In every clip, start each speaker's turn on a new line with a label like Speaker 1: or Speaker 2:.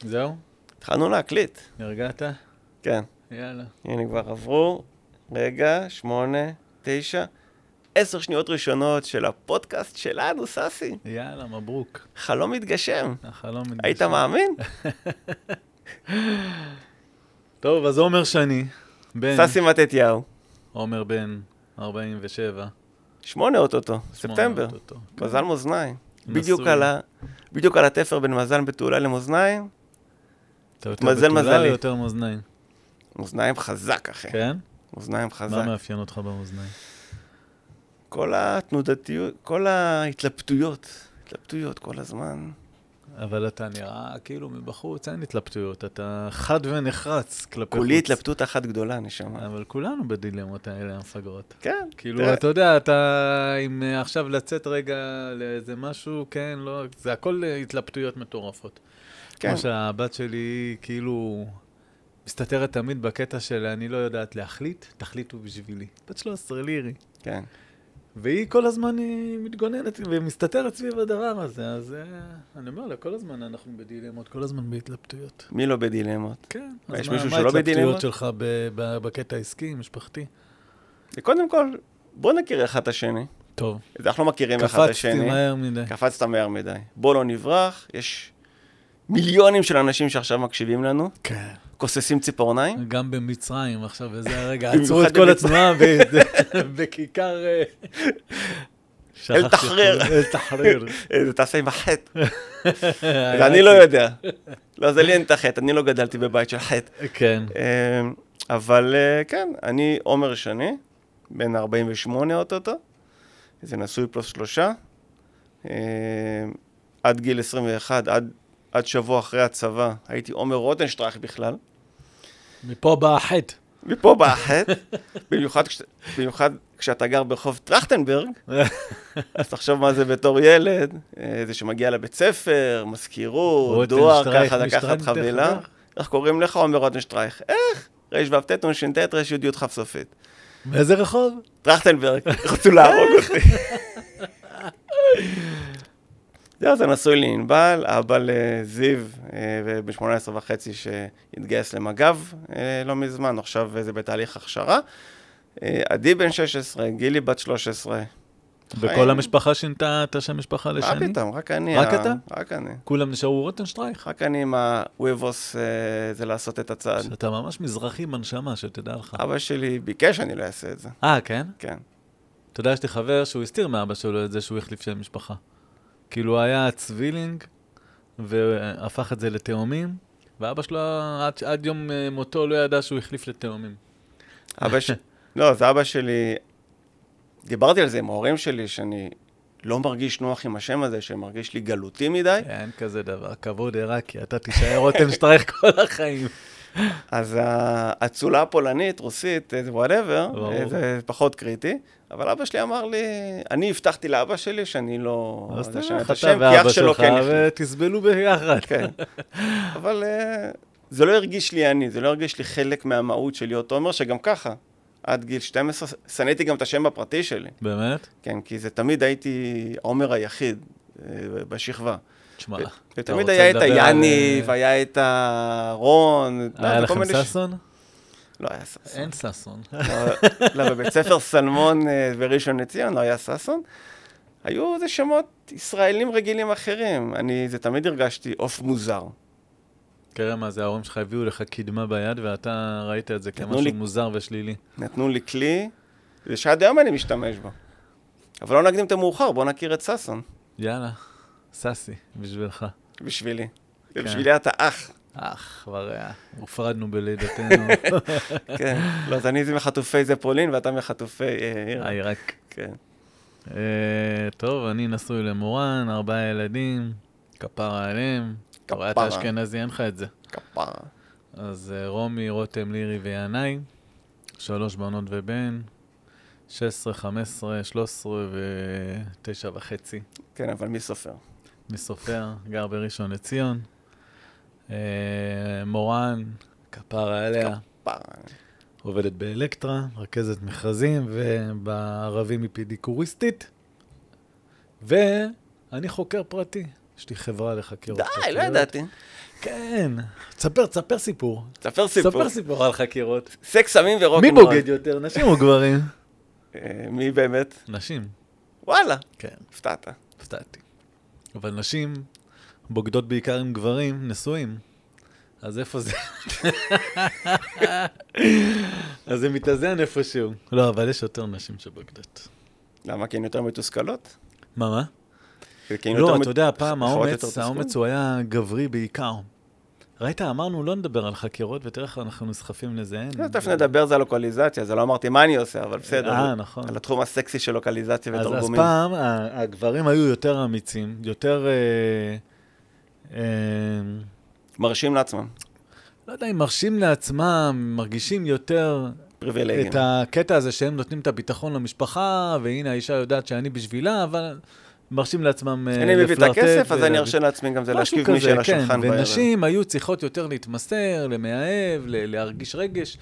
Speaker 1: זהו?
Speaker 2: התחלנו להקליט,
Speaker 1: נרגעת?
Speaker 2: כן.
Speaker 1: יאללה.
Speaker 2: הנה כבר עברו, רגע, שמונה, תשע, עשר שניות ראשונות של הפודקאסט שלנו, ססי.
Speaker 1: יאללה, מברוק.
Speaker 2: חלום מתגשם.
Speaker 1: החלום מתגשם. כן.
Speaker 2: היית מאמין?
Speaker 1: טוב, אז עומר שני, בן,
Speaker 2: ססי מתתיהו.
Speaker 1: עומר בן, 47.
Speaker 2: שמונה אוטוטו,
Speaker 1: שמונה
Speaker 2: ספטמבר.
Speaker 1: אוטוטו. כן.
Speaker 2: מזל מאזניים.
Speaker 1: נשוי.
Speaker 2: בדיוק על ה... בדיוק על התפר בין מזל בתעולה למאזניים.
Speaker 1: אתה יותר
Speaker 2: מזל
Speaker 1: בתולה או
Speaker 2: מזלי. כן.
Speaker 1: יותר מאזניים.
Speaker 2: מאזניים חזק, אחי.
Speaker 1: כן?
Speaker 2: מאזניים חזק.
Speaker 1: מה מאפיין אותך במאזניים?
Speaker 2: כל התנודתיות, כל ההתלבטויות. התלבטויות כל הזמן.
Speaker 1: אבל אתה נראה כאילו מבחוץ, אין התלבטויות, אתה חד ונחרץ כלפי חוץ.
Speaker 2: כולי התלבטות אחת גדולה, נשמה.
Speaker 1: אבל כולנו בדילמות האלה המפגרות.
Speaker 2: כן.
Speaker 1: כאילו,
Speaker 2: תראה,
Speaker 1: אתה יודע, אתה עם אה, עכשיו לצאת רגע לאיזה משהו, כן, לא, זה הכל אה, התלבטויות מטורפות.
Speaker 2: כן.
Speaker 1: כמו שהבת שלי, כאילו, מסתתרת תמיד בקטע של אני לא יודעת להחליט, תחליטו בשבילי. בת 13, לירי.
Speaker 2: כן.
Speaker 1: והיא כל הזמן היא מתגוננת ומסתתרת סביב הדבר הזה, אז אה, אני אומר לה, כל הזמן אנחנו בדילמות, כל הזמן בהתלבטויות.
Speaker 2: מי לא בדילמות?
Speaker 1: כן,
Speaker 2: מה,
Speaker 1: אז
Speaker 2: יש
Speaker 1: מה
Speaker 2: מישהו
Speaker 1: מה
Speaker 2: שלא
Speaker 1: ההתלבטויות
Speaker 2: בדילמות?
Speaker 1: שלך ב- ב- בקטע העסקי, משפחתי?
Speaker 2: קודם כל, בוא נכיר אחד את השני.
Speaker 1: טוב,
Speaker 2: אנחנו לא מכירים אחד את
Speaker 1: קפצתי
Speaker 2: השני.
Speaker 1: מהר מדי.
Speaker 2: קפצת מהר מדי. בוא לא נברח, יש מיליונים של אנשים שעכשיו מקשיבים לנו,
Speaker 1: כן.
Speaker 2: כוססים ציפורניים.
Speaker 1: גם במצרים עכשיו, וזה הרגע,
Speaker 2: במיוחד
Speaker 1: עצרו את כל
Speaker 2: במצרים.
Speaker 1: התנועה ב- בכיכר... אה, שכחתי איך
Speaker 2: תחריר.
Speaker 1: קוראים- אל תחריר.
Speaker 2: אה, זה תעשה עם החטא. זה אני לא יודע. לא, זה לי אין את החטא, אני לא גדלתי בבית של חטא.
Speaker 1: כן,
Speaker 2: אה, אבל אה, כן, אני עומר שני, בן 48 אוטוטו, זה נשוי פלוס שלושה. אה, עד גיל 21, עד, עד שבוע אחרי הצבא, הייתי עומר רוטנשטרייך בכלל.
Speaker 1: מפה בא החטא.
Speaker 2: מפה בא החטא, במיוחד, כש, במיוחד כשאתה גר ברחוב טרכטנברג, אז תחשוב מה זה בתור ילד, אה, זה שמגיע לבית ספר, מזכירות, דואר,
Speaker 1: רוטנשטרייך,
Speaker 2: ככה לקחת
Speaker 1: משטרייך,
Speaker 2: חבילה.
Speaker 1: דרך אגב.
Speaker 2: איך קוראים לך, עומר רוטנשטרייך? איך? רשו"ט נ"ט ר"י כ"ף סופית.
Speaker 1: מאיזה רחוב?
Speaker 2: טרכטנברג, רצו להרוג אותי. זהו, זה נשוי לענבל, אבא לזיו, אה, בן 18 וחצי שהתגייס למג"ב אה, לא מזמן, עכשיו אה, זה בתהליך הכשרה. אה, עדי בן 16, גילי בת 13.
Speaker 1: וכל המשפחה שינתה את השם משפחה
Speaker 2: אה, מה
Speaker 1: לשני?
Speaker 2: פתאום, רק אני.
Speaker 1: רק
Speaker 2: ה-
Speaker 1: אתה?
Speaker 2: רק אני.
Speaker 1: כולם נשארו רוטנשטרייך.
Speaker 2: רק אני עם הוויבוס אה, זה לעשות את הצעד.
Speaker 1: שאתה ממש מזרחי בנשמה, שתדע לך.
Speaker 2: אבא שלי ביקש שאני לא אעשה את זה,
Speaker 1: אה, כן?
Speaker 2: כן.
Speaker 1: אתה יודע, יש לי חבר שהוא הסתיר מאבא שלו את זה שהוא החליף שם משפחה. כאילו, הוא היה צבילינג, והפך את זה לתאומים, ואבא שלו עד, עד יום אה, מותו לא ידע שהוא החליף לתאומים.
Speaker 2: אבא ש... לא, זה אבא שלי... דיברתי על זה עם ההורים שלי, שאני לא מרגיש נוח עם השם הזה, שמרגיש לי גלותי מדי.
Speaker 1: אין כזה דבר, כבוד עיראקי, אתה תישאר רוטנשטרייך כל החיים.
Speaker 2: אז ה- האצולה הפולנית, רוסית, וואטאבר,
Speaker 1: ברור.
Speaker 2: זה פחות קריטי. אבל אבא שלי אמר לי, אני הבטחתי לאבא שלי שאני לא...
Speaker 1: אז
Speaker 2: לא
Speaker 1: תראה
Speaker 2: אשנה
Speaker 1: לך אתה ואבא שלך,
Speaker 2: כן החליט.
Speaker 1: ותסבלו ביחד.
Speaker 2: כן. אבל אה, זה לא הרגיש לי אני, זה לא הרגיש לי חלק מהמהות של להיות עומר, שגם ככה, עד גיל 12, שנאתי גם את השם הפרטי שלי.
Speaker 1: באמת?
Speaker 2: כן, כי זה תמיד הייתי העומר היחיד אה, בשכבה.
Speaker 1: תשמע,
Speaker 2: ו-
Speaker 1: אתה
Speaker 2: ותמיד
Speaker 1: רוצה
Speaker 2: היה את
Speaker 1: לדבר על,
Speaker 2: היאני,
Speaker 1: אה,
Speaker 2: והיה את הרון. לא,
Speaker 1: היה
Speaker 2: זה כל
Speaker 1: לכם
Speaker 2: מיני ש-
Speaker 1: ששון?
Speaker 2: לא היה ששון.
Speaker 1: אין ששון.
Speaker 2: לא, לא, בבית ספר סלמון אה, בראשון לציון לא היה ששון. היו איזה שמות ישראלים רגילים אחרים. אני, זה תמיד הרגשתי עוף מוזר.
Speaker 1: תראה מה זה, ההורים שלך הביאו לך קדמה ביד, ואתה ראית את זה
Speaker 2: נתנו
Speaker 1: כמשהו
Speaker 2: לי-
Speaker 1: מוזר ושלילי.
Speaker 2: נתנו לי כלי, ושעד היום אני משתמש בו. אבל לא נקדים את המאוחר, בואו נכיר את ששון.
Speaker 1: יאללה, ססי, בשבילך.
Speaker 2: בשבילי.
Speaker 1: כן.
Speaker 2: בשבילי אתה אח.
Speaker 1: אך, כבר אה, הופרדנו בלידתנו,
Speaker 2: כן. לא, אז אני מחטופי זה פולין, ואתה מחטופי אה, עיר.
Speaker 1: עיראק.
Speaker 2: כן.
Speaker 1: אה, טוב, אני נשוי למורן, ארבעה ילדים, כפרה עליהם. אתה רואה, אתה
Speaker 2: כפרה.
Speaker 1: אשכנזי, אין לך את זה.
Speaker 2: כפרה.
Speaker 1: אז אה, רומי, רותם, לירי וינאי, שלוש בנות ובן, 16, 15, 13 ו-9 וחצי.
Speaker 2: כן, אבל מי סופר?
Speaker 1: מסופר, גר בראשון לציון. אה, מורן, כפרה עליה.
Speaker 2: כפרה.
Speaker 1: עובדת באלקטרה, רכזת מכרזים, ובערבים היא פדיקוריסטית. ואני חוקר פרטי, יש לי חברה לחקירות
Speaker 2: די, לא ידעתי.
Speaker 1: כן, תספר, תספר סיפור.
Speaker 2: ספר סיפור.
Speaker 1: ספר סיפור על חקירות.
Speaker 2: סקס, סמים
Speaker 1: מי
Speaker 2: ורוקנרול.
Speaker 1: בוגד יותר, נשים או גברים?
Speaker 2: אה, מי באמת?
Speaker 1: נשים.
Speaker 2: וואלה,
Speaker 1: כן,
Speaker 2: הפתעת.
Speaker 1: הפתעתי. אבל נשים בוגדות בעיקר עם גברים נשואים. אז איפה זה? אז זה מתאזן איפשהו. לא, אבל יש יותר נשים שבוגדות.
Speaker 2: למה? כי הן יותר מתוסכלות?
Speaker 1: מה, מה?
Speaker 2: כי הן יותר
Speaker 1: לא,
Speaker 2: מת-
Speaker 1: אתה יודע, פעם
Speaker 2: פחות יותר
Speaker 1: האומץ,
Speaker 2: תסכול?
Speaker 1: האומץ הוא היה גברי בעיקר. ראית, אמרנו לא נדבר על חקירות, ותראה איך אנחנו נסחפים לזה. אין.
Speaker 2: לא, תכף נדבר זה על לוקליזציה, זה לא אמרתי מה אני עושה, אבל בסדר.
Speaker 1: אה, נכון.
Speaker 2: על התחום הסקסי של לוקליזציה
Speaker 1: אז, אז
Speaker 2: ותרגומים.
Speaker 1: פעם ה- הגברים היו יותר אמיצים, יותר... אה, אה,
Speaker 2: מרשים לעצמם,
Speaker 1: לא יודע אם מרשים לעצמם, מרגישים יותר
Speaker 2: פריבילגים.
Speaker 1: את הקטע הזה שהם נותנים את הביטחון למשפחה, והנה האישה יודעת שאני בשבילה, אבל מרשים לעצמם אה,
Speaker 2: אני מביא את הכסף, אז
Speaker 1: ולה-
Speaker 2: אני ארשה לעצמי גם זה
Speaker 1: משהו
Speaker 2: להשכיב מישהי על
Speaker 1: כזה, כן,
Speaker 2: השולחן בערב.
Speaker 1: ונשים היו צריכות יותר להתמסר, למאהב, ל- להרגיש רגש,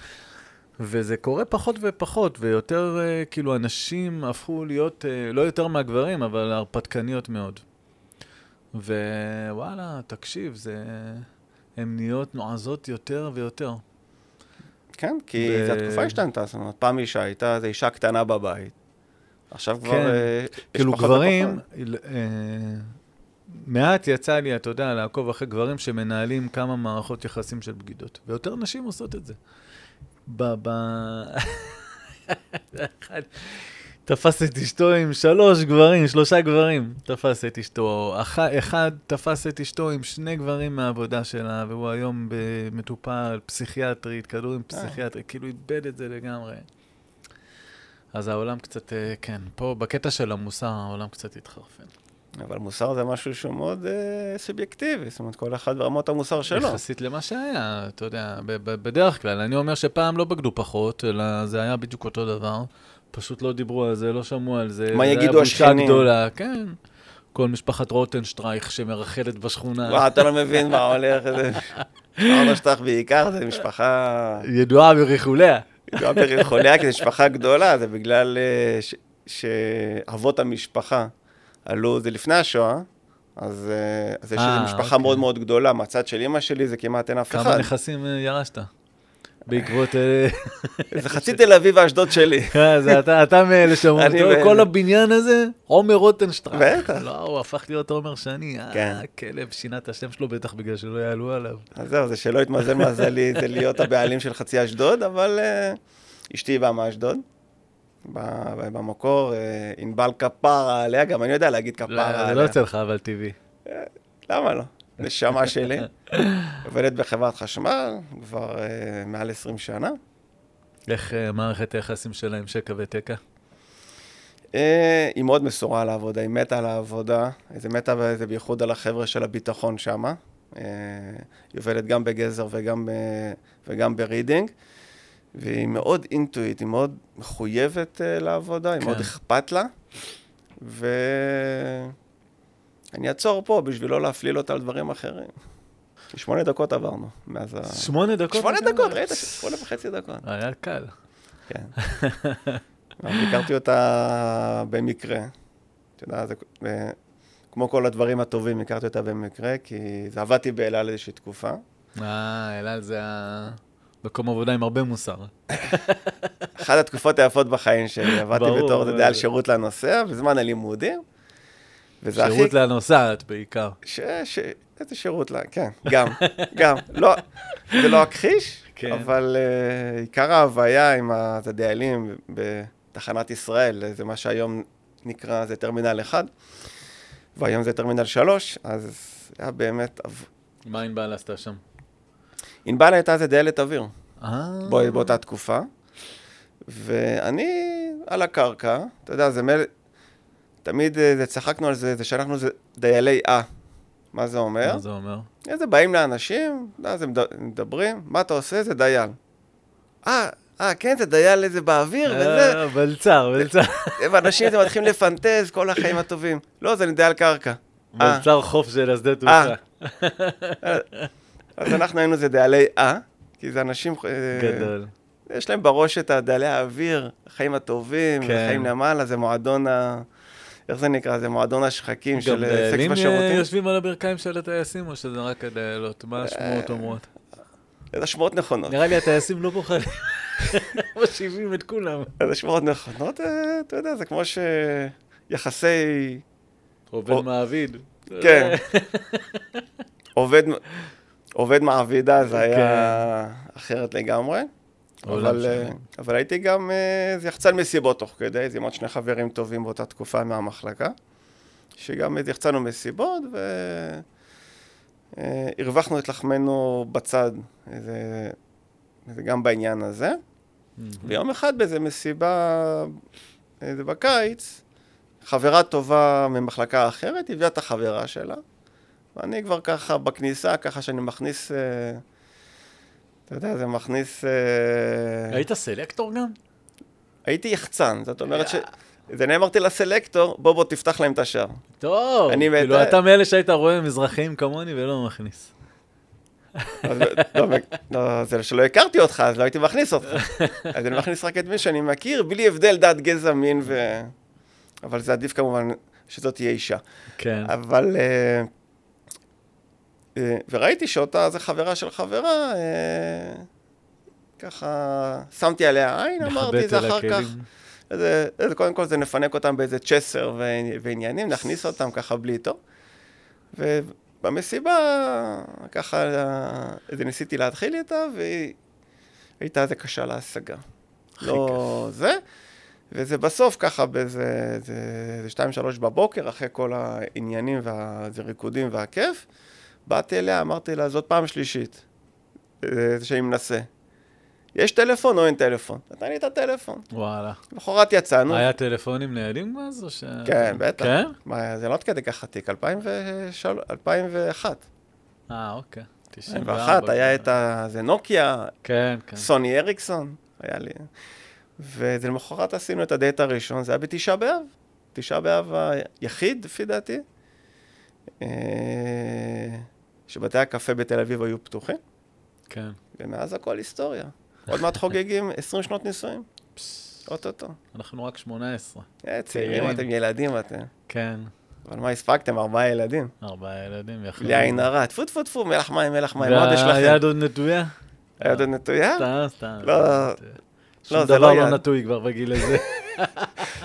Speaker 1: וזה קורה פחות ופחות, ויותר, אה, כאילו, הנשים הפכו להיות, אה, לא יותר מהגברים, אבל הרפתקניות מאוד. ווואלה, תקשיב, זה... הן נהיות נועזות יותר ויותר.
Speaker 2: כן, כי
Speaker 1: ו-
Speaker 2: זה התקופה השתנתה, זאת אומרת, פעם אישה הייתה איזו אישה קטנה בבית. עכשיו כבר...
Speaker 1: כן.
Speaker 2: אה, לא יש
Speaker 1: כאילו
Speaker 2: פחות
Speaker 1: גברים,
Speaker 2: ופחות.
Speaker 1: אה, מעט יצא לי, אתה יודע, לעקוב אחרי גברים שמנהלים כמה מערכות יחסים של בגידות, ויותר נשים עושות את זה. ב... ב... אחד תפס את אשתו עם שלוש גברים, שלושה גברים תפס את אשתו. אח, אחד תפס את אשתו עם שני גברים מהעבודה שלה, והוא היום ב- מטופל, פסיכיאטרית, כדורים פסיכיאטרי, כאילו איבד את זה לגמרי. אז העולם קצת, אה, כן, פה בקטע של המוסר העולם קצת התחרפן.
Speaker 2: אבל מוסר זה משהו שהוא מאוד אה, סובייקטיבי, זאת אומרת, כל אחד ברמות המוסר שלו.
Speaker 1: יחסית למה שהיה, אתה יודע, ב- ב- בדרך כלל. אני אומר שפעם לא בגדו פחות, אלא זה היה בדיוק אותו דבר. פשוט לא דיברו על זה, לא שמעו על זה.
Speaker 2: מה
Speaker 1: זה היה
Speaker 2: יגידו
Speaker 1: בושה
Speaker 2: השכנים?
Speaker 1: גדולה, כן. כל משפחת רוטנשטרייך שמרחלת בשכונה.
Speaker 2: וואי, אתה לא מבין מה הולך, איזה... אורנשטח בעיקר, זה משפחה... לא
Speaker 1: ידועה בריחוליה.
Speaker 2: גם פרק חוליה, כי זו משפחה גדולה, זה בגלל אה, ש- שאבות המשפחה עלו, זה לפני השואה, אז אה, אז יש
Speaker 1: אה,
Speaker 2: איזו משפחה
Speaker 1: אוקיי.
Speaker 2: מאוד מאוד גדולה. מהצד של אימא שלי זה כמעט אין אף
Speaker 1: כמה
Speaker 2: אחד.
Speaker 1: נכסים אה, ירשת? בעקבות... אה,
Speaker 2: זה חצי תל אביב ואשדוד שלי.
Speaker 1: אה, זה אתה, אתה מאלה שאומרים,
Speaker 2: אני
Speaker 1: "טוב,
Speaker 2: מאלה."
Speaker 1: כל הבניין הזה, עומר רוטנשטרייך.
Speaker 2: בטח.
Speaker 1: לא, הוא הפך להיות עומר שני.
Speaker 2: כן.
Speaker 1: אה, הכלב שינה את השם שלו בטח בגלל שלא יעלו עליו.
Speaker 2: אז זהו, זה שלא התמזל מזלי, זה להיות הבעלים של חצי אשדוד, אבל אה, אשתי באה מאשדוד. ב- ב- במקור, אה, ענבל כפרה עליה, גם אני יודע להגיד
Speaker 1: לא,
Speaker 2: כפרה
Speaker 1: זה לא
Speaker 2: עליה.
Speaker 1: יוצא לך, אבל טבעי.
Speaker 2: למה לא? נשמה שלי. עובדת בחברת חשמל כבר אה, מעל 20 שנה.
Speaker 1: איך אה, מערכת היחסים שלה עם שקע ותקע?
Speaker 2: אה, היא מאוד מסורה על העבודה, היא מתה על העבודה. זה מתה וזה בייחוד על החבר'ה של הביטחון שמה. אה, היא עובדת גם בגזר וגם, ב, וגם ברידינג. והיא מאוד אינטואיט, היא מאוד מחויבת אה, לעבודה, היא
Speaker 1: כן.
Speaker 2: מאוד אכפת לה. ואני אעצור פה בשביל לא להפליל אותה על דברים אחרים. שמונה דקות עברנו מאז ה...
Speaker 1: שמונה דקות?
Speaker 2: אה. שמונה
Speaker 1: אתה
Speaker 2: דקות,
Speaker 1: אומר?
Speaker 2: ראית? שמונה וחצי דקות.
Speaker 1: אה, היה קל.
Speaker 2: כן. אבל הכרתי אותה במקרה. אתה יודע, זה אה, כמו כל הדברים הטובים, הכרתי אותה במקרה, כי זה עבדתי באל על איזושהי תקופה.
Speaker 1: אה, אלעד זה ה- מקום עבודה עם הרבה מוסר.
Speaker 2: אחת התקופות היפות בחיים שלי, עבדתי
Speaker 1: ברור,
Speaker 2: בתור, אתה יודע,
Speaker 1: מה
Speaker 2: על
Speaker 1: זה.
Speaker 2: שירות לנוסע, בזמן הלימודים. וזה הכי...
Speaker 1: שירות לנוסעת בעיקר.
Speaker 2: ש... ש... איזה שירות לה, כן, גם, גם. לא, זה לא אכחיש,
Speaker 1: כן.
Speaker 2: כן. אבל uh, עיקר ההוויה עם ה- את הדיילים בתחנת ישראל, זה מה שהיום נקרא, זה טרמינל 1, והיום זה טרמינל 3, אז היה באמת... עב-
Speaker 1: מה ענבל עשתה שם?
Speaker 2: ענבל הייתה איזה דיילת אוויר
Speaker 1: אה,
Speaker 2: בוא, באותה תקופה, ואני על הקרקע, אתה יודע, זה מל... תמיד אה, זה, צחקנו על זה, זה שאנחנו זה דיילי אה. מה זה אומר?
Speaker 1: מה זה אומר?
Speaker 2: איזה באים לאנשים, אז הם מד- מדברים, מה אתה עושה? זה דייל. אה, אה, כן, זה דייל איזה באוויר, וזה,
Speaker 1: אה, בלצר, בלצר.
Speaker 2: ואנשים אתם מתחילים לפנטז, כל החיים הטובים. לא, זה אני דייל קרקע. אה,
Speaker 1: בלצר חוף של השדה תעופה.
Speaker 2: אז אנחנו היינו זה דיילי אה, כי זה אנשים, אה,
Speaker 1: גדול.
Speaker 2: יש להם בראש את הדיילי האוויר, החיים הטובים,
Speaker 1: כן.
Speaker 2: החיים למעלה, זה מועדון ה... איך זה נקרא? זה מועדון השחקים
Speaker 1: גם
Speaker 2: של אה, סקס
Speaker 1: דיילים אה,
Speaker 2: בשירותים?
Speaker 1: יושבים על הברכיים של הטייסים, או שזה רק הדיילות?
Speaker 2: אה,
Speaker 1: מה השמועות אומרות?
Speaker 2: איזה שמועות נכונות.
Speaker 1: נראה לי הטייסים לא בוחרים. משיבים את כולם.
Speaker 2: איזה שמועות נכונות, אה, אתה יודע, זה כמו שיחסי
Speaker 1: עובד
Speaker 2: או-
Speaker 1: מעביד.
Speaker 2: כן. עובד, עובד מעבידה זה היה אחרת לגמרי.
Speaker 1: עולם
Speaker 2: אבל,
Speaker 1: שלם.
Speaker 2: אה, אבל הייתי גם, אה, זה יחצן מסיבות תוך כדי, זה עם עוד שני חברים טובים באותה תקופה מהמחלקה, שגם אז יחצנו מסיבות והרווחנו את לחמנו בצד, זה, זה גם בעניין הזה. ויום אחד באיזה מסיבה, איזה בקיץ, חברה טובה ממחלקה אחרת הביאה את החברה שלה, ואני כבר ככה בכניסה, ככה שאני מכניס, אה, אתה יודע, זה מכניס... אה,
Speaker 1: היית סלקטור גם?
Speaker 2: הייתי יחצן, זאת אומרת ש... זה אני אמרתי לסלקטור, בוא בוא תפתח להם את השער.
Speaker 1: טוב,
Speaker 2: אני
Speaker 1: כאילו
Speaker 2: מת-
Speaker 1: אתה מאלה שהיית רואה מזרחים כמוני ולא מכניס.
Speaker 2: אז לא, לא, זה שלא הכרתי אותך, אז לא הייתי מכניס אותך. אז אני מכניס רק את מי שאני מכיר, בלי הבדל דת, גזע, מין ו... אבל זה עדיף כמובן שזאת תהיה אישה.
Speaker 1: כן.
Speaker 2: אבל... אה, אה, וראיתי שאותה, זו חברה של חברה, אה, ככה שמתי עליה עין, אמרתי
Speaker 1: נחבט
Speaker 2: זה
Speaker 1: על
Speaker 2: אחר כך.
Speaker 1: הכלים.
Speaker 2: זה, זה, קודם כל זה נפנק אותם באיזה צ'סר ועני- ועניינים, נכניס אותם ככה בלי תור. ובמסיבה, ככה, זה ניסיתי להתחיל איתה, והיא הייתה איזה קשה להשגה. לא זה. וזה בסוף ככה באיזה זה, זה שתיים, שלוש בבוקר, אחרי כל העניינים והריקודים והכיף, באתי אליה, אמרתי לה, זאת פעם שלישית אה, שאני מנסה. יש טלפון או אין טלפון? נתן לי את הטלפון.
Speaker 1: וואלה.
Speaker 2: למחרת יצאנו.
Speaker 1: היה טלפונים ניידים אז? או ש...
Speaker 2: כן, בטח.
Speaker 1: כן?
Speaker 2: מה, זה לא עד כדי כך עתיק, 2003, 2001.
Speaker 1: אה, אוקיי.
Speaker 2: 2001 היה את ה... זה נוקיה,
Speaker 1: כן, כן.
Speaker 2: סוני אריקסון, היה לי. וזה למחרת עשינו את הדייט הראשון, זה היה בתשעה באב. תשעה באב היחיד, לפי דעתי, אה, שבתי הקפה בתל אביב היו פתוחים,
Speaker 1: כן.
Speaker 2: ומאז הכל היסטוריה. עוד מעט חוגגים 20 שנות נישואים,
Speaker 1: פס,
Speaker 2: אוטוטו.
Speaker 1: אנחנו רק 18.
Speaker 2: אה,
Speaker 1: צעירים.
Speaker 2: צעירים, אתם ילדים אתם.
Speaker 1: כן.
Speaker 2: אבל מה הספקתם? ארבעה ילדים.
Speaker 1: ארבעה ילדים יחד.
Speaker 2: בלי עין הרע, טפו טפו טפו, מלח מים, מלח מים, מה עוד יש לכם?
Speaker 1: והיד עוד נטויה?
Speaker 2: היד עוד נטויה?
Speaker 1: סתם, סתם.
Speaker 2: לא,
Speaker 1: שום
Speaker 2: לא, זה
Speaker 1: דבר
Speaker 2: לא
Speaker 1: לא
Speaker 2: יד.
Speaker 1: נטוי כבר בגיל הזה.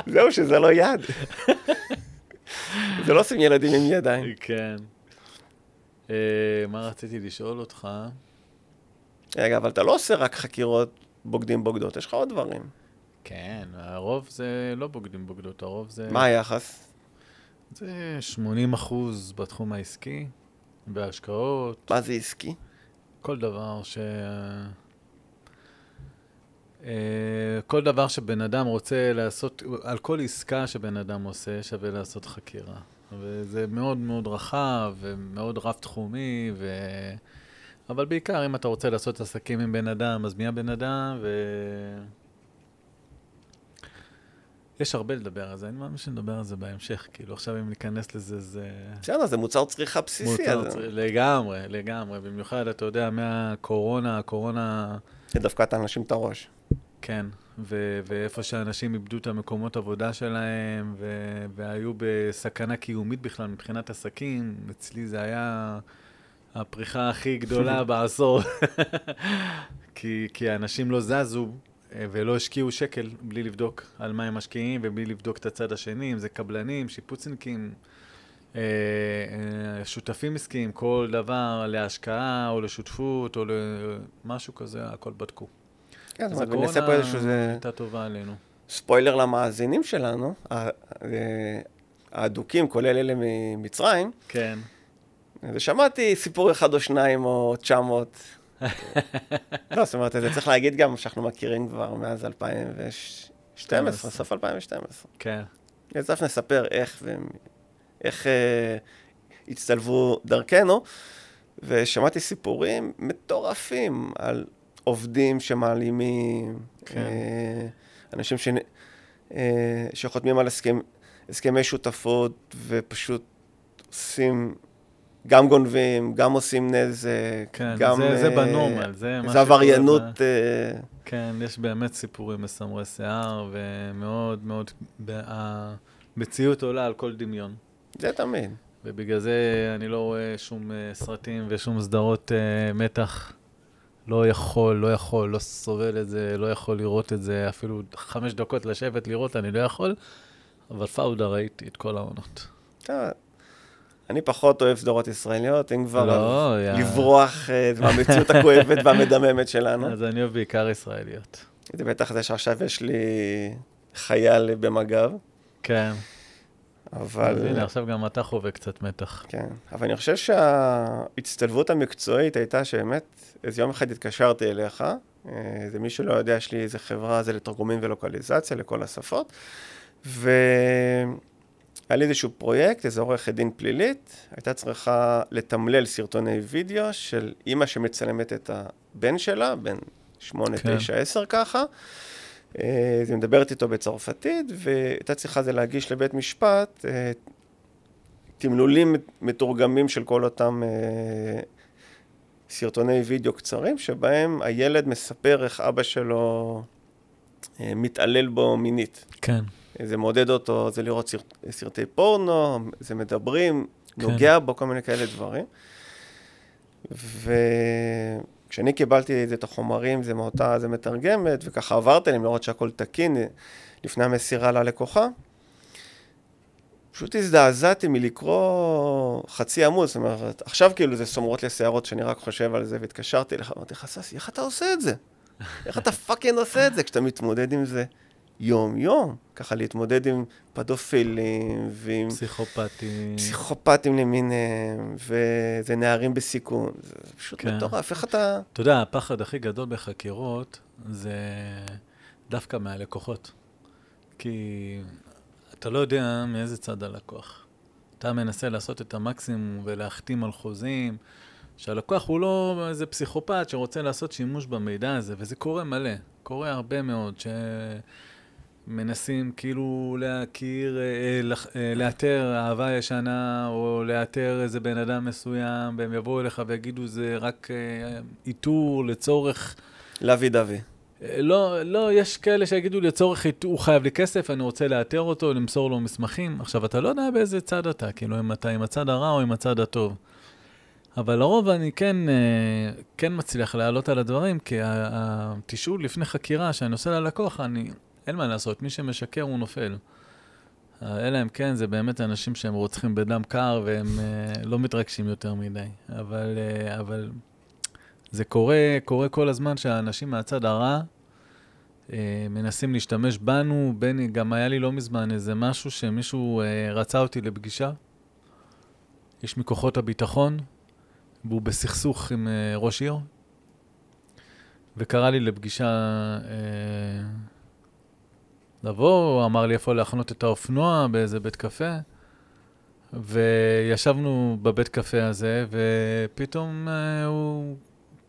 Speaker 2: זהו, שזה לא יד. זה לא עושים ילדים עם ידיים.
Speaker 1: כן. אה, מה רציתי לשאול אותך?
Speaker 2: רגע, אבל אתה לא עושה רק חקירות בוגדים בוגדות, יש לך עוד דברים.
Speaker 1: כן, הרוב זה לא בוגדים בוגדות, הרוב זה...
Speaker 2: מה היחס?
Speaker 1: זה 80 אחוז בתחום העסקי, בהשקעות,
Speaker 2: מה זה עסקי?
Speaker 1: כל דבר ש... אה, כל דבר שבן אדם רוצה לעשות, על כל עסקה שבן אדם עושה, שווה לעשות חקירה. וזה מאוד מאוד רחב, ומאוד רב-תחומי, ו... אבל בעיקר, אם אתה רוצה לעשות עסקים עם בן אדם, אז מי הבן אדם, ו... יש הרבה לדבר על זה, אני מאמין שנדבר על זה בהמשך, כאילו, עכשיו אם ניכנס לזה, זה...
Speaker 2: בסדר, זה מוצר צריכה בסיסי.
Speaker 1: מוצר
Speaker 2: אז-
Speaker 1: צר- לגמרי, לגמרי. במיוחד, אתה יודע, מהקורונה, הקורונה,
Speaker 2: זה דווקא את האנשים את הראש.
Speaker 1: כן, ו- ואיפה שאנשים איבדו את המקומות עבודה שלהם, ו- והיו בסכנה קיומית בכלל מבחינת עסקים, אצלי זה היה הפריחה הכי גדולה בעשור. כי, כי האנשים לא זזו אה, ולא השקיעו שקל בלי לבדוק על מה הם משקיעים ובלי לבדוק את הצד השני, אם זה קבלנים, שיפוצניקים, אה, אה, שותפים עסקיים, כל דבר להשקעה או לשותפות או למשהו כזה, הכל בדקו.
Speaker 2: כן,
Speaker 1: אז
Speaker 2: זאת אומרת,
Speaker 1: הקורונה
Speaker 2: נעשה פה איזשהו זה-
Speaker 1: הייתה טובה עלינו.
Speaker 2: ספוילר למאזינים שלנו, ה- אה, האדוקים, כולל אלה ממצרים,
Speaker 1: כן.
Speaker 2: ושמעתי סיפור אחד או שניים או 900. לא, זאת אומרת, זה צריך להגיד גם שאנחנו מכירים כבר מאז 2012, סוף 2012.
Speaker 1: כן.
Speaker 2: אז תכף נספר איך והם- איך אה, הצטלבו דרכנו, ושמעתי סיפורים מטורפים על עובדים שמעלימים,
Speaker 1: כן.
Speaker 2: אה, אנשים שנ- אה, שחותמים על הסכם- הסכמי שותפות ופשוט עושים, גם גונבים, גם עושים נזק,
Speaker 1: כן,
Speaker 2: גם...
Speaker 1: זה- זה
Speaker 2: אה,
Speaker 1: בנורמל, זה מה
Speaker 2: זה
Speaker 1: שקורה
Speaker 2: עבריינות...
Speaker 1: ב-
Speaker 2: אה,
Speaker 1: כן, יש באמת סיפורים מסמרי שיער, ומאוד מאוד... ב- ה- מציאות עולה על כל דמיון.
Speaker 2: זה תמיד.
Speaker 1: ובגלל זה אני לא רואה שום אה, סרטים ושום סדרות אה, מתח. לא יכול, לא יכול, לא סובל את זה, לא יכול לראות את זה, אפילו חמש דקות לשבת לראות, אני לא יכול. אבל פאודה ראיתי את כל העונות.
Speaker 2: אתה- אני פחות אוהב סדרות ישראליות, אם כבר
Speaker 1: לא,
Speaker 2: אז
Speaker 1: יא.
Speaker 2: לברוח אה, מהמציאות הכואבת והמדממת שלנו.
Speaker 1: אז אני אוהב בעיקר ישראליות.
Speaker 2: זה בטח זה שעכשיו יש לי חייל במג"ב,
Speaker 1: כן. אז
Speaker 2: אבל...
Speaker 1: הנה, עכשיו גם אתה חווה קצת מתח.
Speaker 2: כן, אבל אני חושב שההצטלבות המקצועית הייתה שבאמת, איזה יום אחד התקשרתי אליך, אה, זה מי שלא יודע, יש לי איזה חברה, זה לתרגומים ולוקליזציה לכל השפות, והיה לי איזשהו פרויקט, איזו עורכת דין פלילית, הייתה צריכה לתמלל סרטוני וידאו של אימא שמצלמת את הבן שלה, בן שמונה,
Speaker 1: כן.
Speaker 2: תשע, עשר ככה. אה, אז היא מדברת איתו בצרפתית, והייתה צריכה זה להגיש לבית משפט אה, תמלולים מתורגמים של כל אותם אה, סרטוני וידאו קצרים, שבהם הילד מספר איך אבא שלו אה, מתעלל בו מינית.
Speaker 1: כן.
Speaker 2: אה, זה מעודד אותו, זה לראות סרט, סרטי פורנו, זה מדברים,
Speaker 1: כן.
Speaker 2: נוגע בו, כל מיני כאלה דברים. וכשאני קיבלתי את זה, את החומרים, זה מאותה, זה מתרגמת, וככה עברתי להם לראות שהכל תקין אה, לפני המסירה ללקוחה. פשוט הזדעזעתי מלקרוא חצי עמוד, זאת אומרת, עכשיו כאילו זה סומרות לי השערות שאני רק חושב על זה, והתקשרתי אליך, אמרתי לך, ססי, איך אתה עושה את זה? איך אתה פאקינג עושה את זה כשאתה מתמודד עם זה יום-יום? ככה להתמודד עם פדופילים ועם
Speaker 1: פסיכופתי.
Speaker 2: פסיכופטים למיניהם, וזה נערים בסיכון, זה זה פשוט
Speaker 1: כן.
Speaker 2: מטורף, איך אתה...
Speaker 1: אתה יודע, הפחד הכי גדול בחקירות זה דווקא מהלקוחות. כי אתה לא יודע מאיזה צד הלקוח. אתה מנסה לעשות את המקסימום ולהחתים על חוזים, שהלקוח הוא לא איזה פסיכופת שרוצה לעשות שימוש במידע הזה, וזה קורה מלא. קורה הרבה מאוד, שמנסים כאילו להכיר, אה, לח- אה, לאתר אהבה ישנה, או לאתר איזה בן אדם מסוים, והם יבואו אליך ויגידו זה רק אה, איתור לצורך
Speaker 2: לוי דווי.
Speaker 1: לא, לא, יש כאלה שיגידו לצורך, איתו- הוא חייב לי כסף, אני רוצה לאתר אותו, למסור לו מסמכים. עכשיו, אתה לא יודע באיזה צד אתה, כאילו, אם אתה עם הצד הרע או עם הצד הטוב. אבל לרוב אני כן, אה, כן מצליח לעלות על הדברים, כי ה- התשאול לפני חקירה, שאני עושה ללקוח, אני, אין מה לעשות, מי שמשקר הוא נופל. אה, אלא אם כן, זה באמת אנשים שהם רוצחים בדם קר והם אה, לא מתרגשים יותר מדי. אבל, אה, אבל זה קורה, קורה כל הזמן שהאנשים מהצד הרע אה, מנסים להשתמש בנו. בני, גם היה לי לא מזמן איזה משהו שמישהו אה, רצה אותי לפגישה, איש מכוחות הביטחון, והוא בסכסוך עם אה, ראש עיר, וקרא לי לפגישה אה, לבוא, הוא אמר לי איפה להחנות את האופנוע, באיזה בית קפה. וישבנו בבית קפה הזה, ופתאום אה, הוא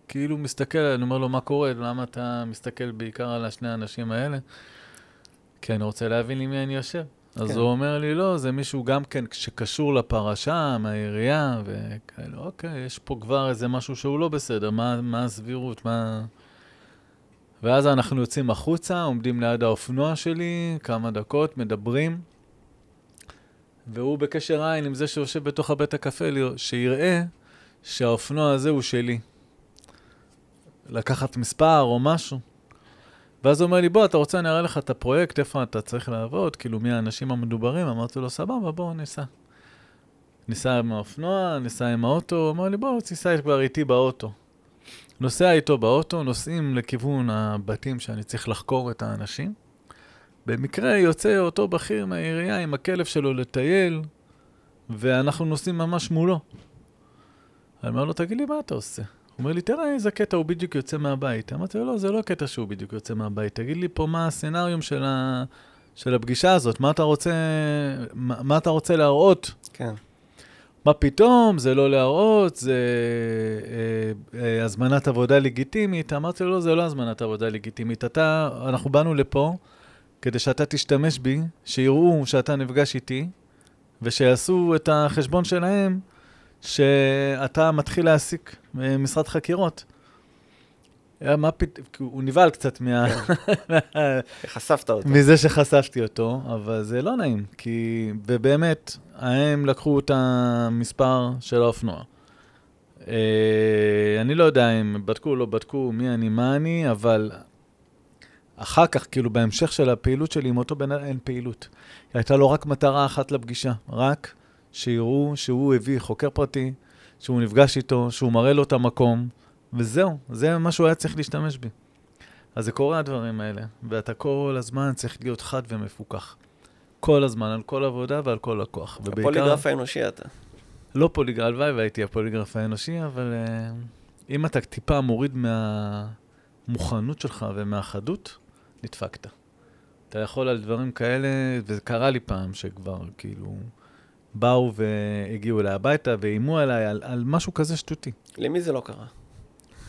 Speaker 1: כאילו מסתכל, אני אומר לו, מה קורה? למה אתה מסתכל בעיקר על השני האנשים האלה? כי אני רוצה להבין עם מי אני יושב. אז
Speaker 2: כן.
Speaker 1: הוא אומר לי, לא, זה מישהו גם כן שקשור לפרשה, מהעירייה, וכאלה, אוקיי, יש פה כבר איזה משהו שהוא לא בסדר, מה, מה הסבירות, מה... ואז אנחנו יוצאים החוצה, עומדים ליד האופנוע שלי, כמה דקות, מדברים, והוא בקשר עין עם זה שיושב בתוך הבית הקפה, לרא- שיראה שהאופנוע הזה הוא שלי. לקחת מספר או משהו. ואז הוא אומר לי, בוא, אתה רוצה, אני אראה לך את הפרויקט, איפה אתה צריך לעבוד, כאילו, מי האנשים המדוברים? אמרתי לו, סבבה, בוא, ניסע. ניסע עם האופנוע, ניסע עם האוטו, הוא אמר לי, בוא, תיסע כבר איתי באוטו. נוסע איתו באוטו, נוסעים לכיוון הבתים שאני צריך לחקור את האנשים. במקרה יוצא אותו בכיר מהעירייה עם הכלב שלו לטייל, ואנחנו נוסעים ממש מולו. אני אומר לו, תגיד לי, מה אתה עושה? הוא אומר לי, תראה איזה קטע הוא בדיוק יוצא מהבית. אמרתי לו, לא, זה לא קטע שהוא בדיוק יוצא מהבית. תגיד לי פה מה הסצנריום של, ה... של הפגישה הזאת, מה אתה רוצה, מה, מה אתה רוצה להראות?
Speaker 2: כן.
Speaker 1: מה פתאום, זה לא להראות, זה אה, אה, הזמנת עבודה לגיטימית. אמרתי לו, לא, זה לא הזמנת עבודה לגיטימית. אתה, אנחנו באנו לפה כדי שאתה תשתמש בי, שיראו שאתה נפגש איתי, ושיעשו את החשבון שלהם שאתה מתחיל להעסיק אה, משרד חקירות. היה מה פתאום, הוא נבהל קצת מה...
Speaker 2: חשפת אותו.
Speaker 1: מזה שחשפתי אותו, אבל זה לא נעים, כי... ובאמת, הם לקחו את המספר של האופנוע. אה, אני לא יודע אם בדקו או לא בדקו, מי אני, מה אני, אבל אחר כך, כאילו בהמשך של הפעילות שלי עם אותו בן אדם, אין פעילות. הייתה לו רק מטרה אחת לפגישה, רק שיראו שהוא הביא חוקר פרטי, שהוא נפגש איתו, שהוא מראה לו את המקום, וזהו, זה מה שהוא היה צריך להשתמש בי. אז זה קורה הדברים האלה, ואתה כל הזמן צריך להיות חד ומפוקח. כל הזמן, על כל עבודה ועל כל לקוח. ובעיקר-
Speaker 2: הפוליגרף האנושי אתה.
Speaker 1: לא פוליגרף, הלוואי והייתי הפוליגרף האנושי, אבל אה, אם אתה טיפה מוריד מהמוכנות שלך ומהחדות, נדפקת. אתה יכול על דברים כאלה, וזה קרה לי פעם שכבר כאילו באו והגיעו אליי הביתה ואיימו עליי על, על משהו כזה שטותי.
Speaker 2: למי זה לא קרה?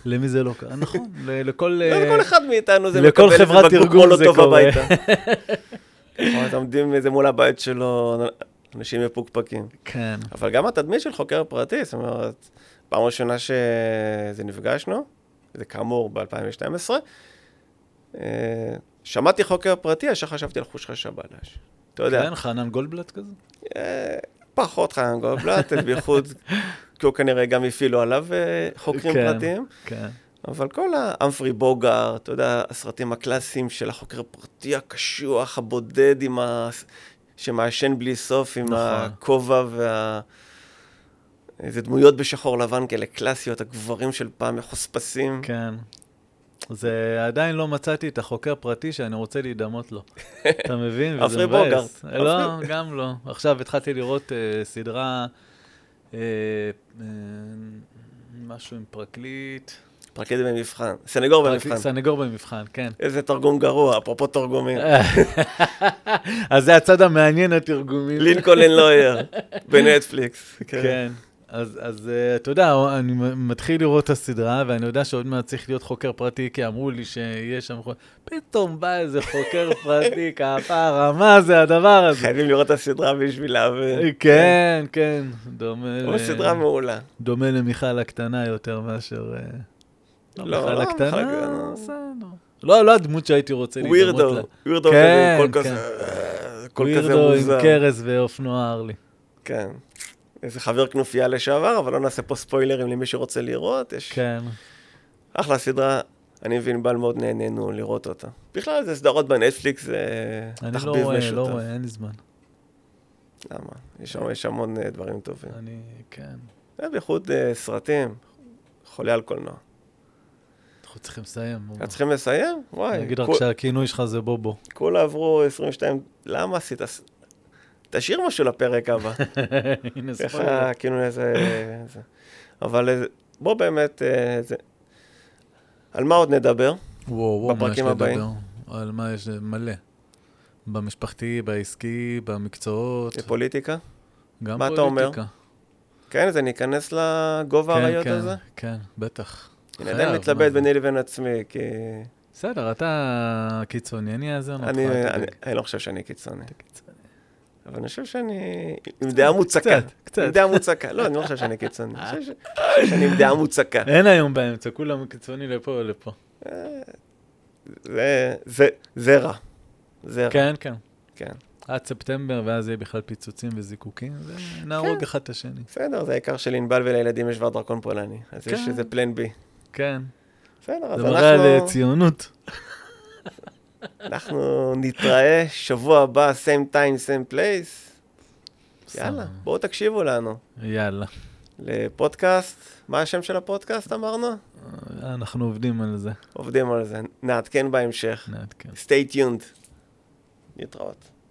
Speaker 1: למי זה לא קרה? נכון, ל- לכל...
Speaker 2: לא
Speaker 1: אה,
Speaker 2: לכל אחד מאיתנו זה
Speaker 1: לכל
Speaker 2: מקבל איזה
Speaker 1: חברת
Speaker 2: בקבוק
Speaker 1: ארגון זה
Speaker 2: מולוטוב
Speaker 1: קורה.
Speaker 2: הביתה. או, נכון, אתה עומדים איזה מול הבית שלו, אנשים מפוקפקים.
Speaker 1: כן,
Speaker 2: אבל גם התדמית של חוקר פרטי, זאת אומרת, פעם ראשונה שזה נפגשנו, זה כאמור ב-2012, אה, שמעתי חוקר פרטי, ישר חשבתי על חוש חש הבלש. אתה לא יודע,
Speaker 1: כן, חנן גולדבלט כזה?
Speaker 2: אה, פחות לא, חנן גולדבלט, בייחוד, כי הוא כנראה גם הפעילו עליו אה, חוקרים
Speaker 1: כן.
Speaker 2: פרטיים.
Speaker 1: כן.
Speaker 2: אבל כל האמפרי בוגר, אתה יודע, הסרטים הקלאסיים של החוקר הפרטי הקשוח, הבודד עם ה... שמעשן בלי סוף, עם
Speaker 1: נכון.
Speaker 2: הכובע וה... איזה דמויות בשחור לבן כאלה קלאסיות, הגברים של פעם מחוספסים.
Speaker 1: כן. זה עדיין לא מצאתי את החוקר פרטי שאני רוצה להידמות לו. אתה מבין? וזה
Speaker 2: עפרי
Speaker 1: מבאס.
Speaker 2: בוגרט.
Speaker 1: לא,
Speaker 2: עפרי-
Speaker 1: גם לא. עכשיו התחלתי לראות אה, סדרה, אה, אה, משהו עם פרקליט.
Speaker 2: פרקליט במבחן, סנגור
Speaker 1: פרקליט-
Speaker 2: במבחן.
Speaker 1: סנגור במבחן, כן.
Speaker 2: איזה תרגום גרוע, אפרופו תרגומים.
Speaker 1: אה, אז זה הצד המעניין התרגומי.
Speaker 2: לינקולן לויר, בנטפליקס.
Speaker 1: כן. אז, אז אה, אתה יודע, אני מ- מתחיל לראות את הסדרה, ואני יודע שעוד מעט צריך להיות חוקר פרטי, כי אמרו לי שיש שם חוקר... פתאום בא איזה חוקר פרטי, כפרה, מה זה הדבר הזה?
Speaker 2: חייבים לראות את הסדרה בשביל להבין.
Speaker 1: כן, כן, דומה,
Speaker 2: או סדרה מעולה.
Speaker 1: דומה למיכל הקטנה יותר מאשר... אה, לא,
Speaker 2: לא,
Speaker 1: מיכל
Speaker 2: לא, מיכל
Speaker 1: הקטנה,
Speaker 2: הקטנה.
Speaker 1: בסדר. לא, לא הדמות שהייתי רוצה להידמות לה.
Speaker 2: ווירדו, ווירדו כזה,
Speaker 1: כן,
Speaker 2: כל
Speaker 1: כן.
Speaker 2: כזה, אה, כל כזה
Speaker 1: ווירדו עם
Speaker 2: מוזר.
Speaker 1: קרס ואופנוע ארלי.
Speaker 2: כן. איזה חבר כנופיה לשעבר, אבל לא נעשה פה ספוילרים למי שרוצה לראות. יש
Speaker 1: כן,
Speaker 2: אחלה סדרה, אני וענבל מאוד נהנינו לראות אותה. בכלל, זה סדרות בנטפליקס, זה
Speaker 1: אני לא
Speaker 2: תחביב
Speaker 1: רואה, לא
Speaker 2: משותף.
Speaker 1: רואה, אין לי זמן.
Speaker 2: למה? יש שם- יש המון אה, דברים טובים.
Speaker 1: אני, כן.
Speaker 2: אה, בייחוד אה, סרטים, חולה על קולנוע.
Speaker 1: אנחנו צריכים לסיים. בוא.
Speaker 2: אז צריכים לסיים?
Speaker 1: אה. אני
Speaker 2: וואי,
Speaker 1: אגיד רק
Speaker 2: כול-
Speaker 1: שהכינוי שלך זה בובו.
Speaker 2: כולה עברו 22, למה עשית? ס- תשאיר משהו לפרק הבא.
Speaker 1: הנה,
Speaker 2: איך
Speaker 1: ספוילר.
Speaker 2: כאילו איזה... זה. אבל אה, בוא באמת, אה, זה... על מה עוד נדבר?
Speaker 1: וואו, וואו, מה יש
Speaker 2: בפרקים הבאים.
Speaker 1: לדבר? על מה יש? מלא. במשפחתי, בעסקי, במקצועות,
Speaker 2: פוליטיקה?
Speaker 1: גם
Speaker 2: מה אתה אומר?
Speaker 1: פוליטיקה.
Speaker 2: כן, אז אני אכנס לגובה האריות
Speaker 1: כן,
Speaker 2: הזה?
Speaker 1: כן, בטח.
Speaker 2: אני עדיין
Speaker 1: חייב, מה
Speaker 2: מתלבט
Speaker 1: זה?
Speaker 2: ביני לבין עצמי, כי
Speaker 1: בסדר, אתה קיצוני, אני אאזן אותך.
Speaker 2: אני-
Speaker 1: אל
Speaker 2: אני
Speaker 1: תדאג.
Speaker 2: אני לא חושב שאני קיצוני.
Speaker 1: קיצוני.
Speaker 2: אבל אני חושב שאני עם דעה מוצקה.
Speaker 1: קצת, קצת.
Speaker 2: עם דעה מוצקה. לא, אני לא חושב שאני קיצוני. אני חושב ש- שאני עם דעה מוצקה.
Speaker 1: אין היום באמצע, כולם קיצוני לפה ולפה. אה.
Speaker 2: זה- זה- זה רע. זה רע,
Speaker 1: כן, כן.
Speaker 2: כן.
Speaker 1: עד ספטמבר, ואז יהיה בכלל פיצוצים וזיקוקים,
Speaker 2: כן.
Speaker 1: ונהרוג אחד את השני.
Speaker 2: בסדר, זה העיקר שלענבל ולילדים יש כבר דרקון פולני. אז יש
Speaker 1: כן.
Speaker 2: איזה פלן בי.
Speaker 1: כן.
Speaker 2: בסדר, אז
Speaker 1: זה מראה על
Speaker 2: אנחנו...
Speaker 1: אה, ציונות.
Speaker 2: אנחנו נתראה שבוע הבא, same time, same place. יאללה,
Speaker 1: סבבה.
Speaker 2: בואו תקשיבו לנו.
Speaker 1: יאללה.
Speaker 2: לפודקאסט, מה השם של הפודקאסט אמרנו?
Speaker 1: אה, אנחנו עובדים על זה. Mm. כן.
Speaker 2: עובדים על זה, נעדכן בהמשך.
Speaker 1: נעדכן.
Speaker 2: stay tuned. נתראות.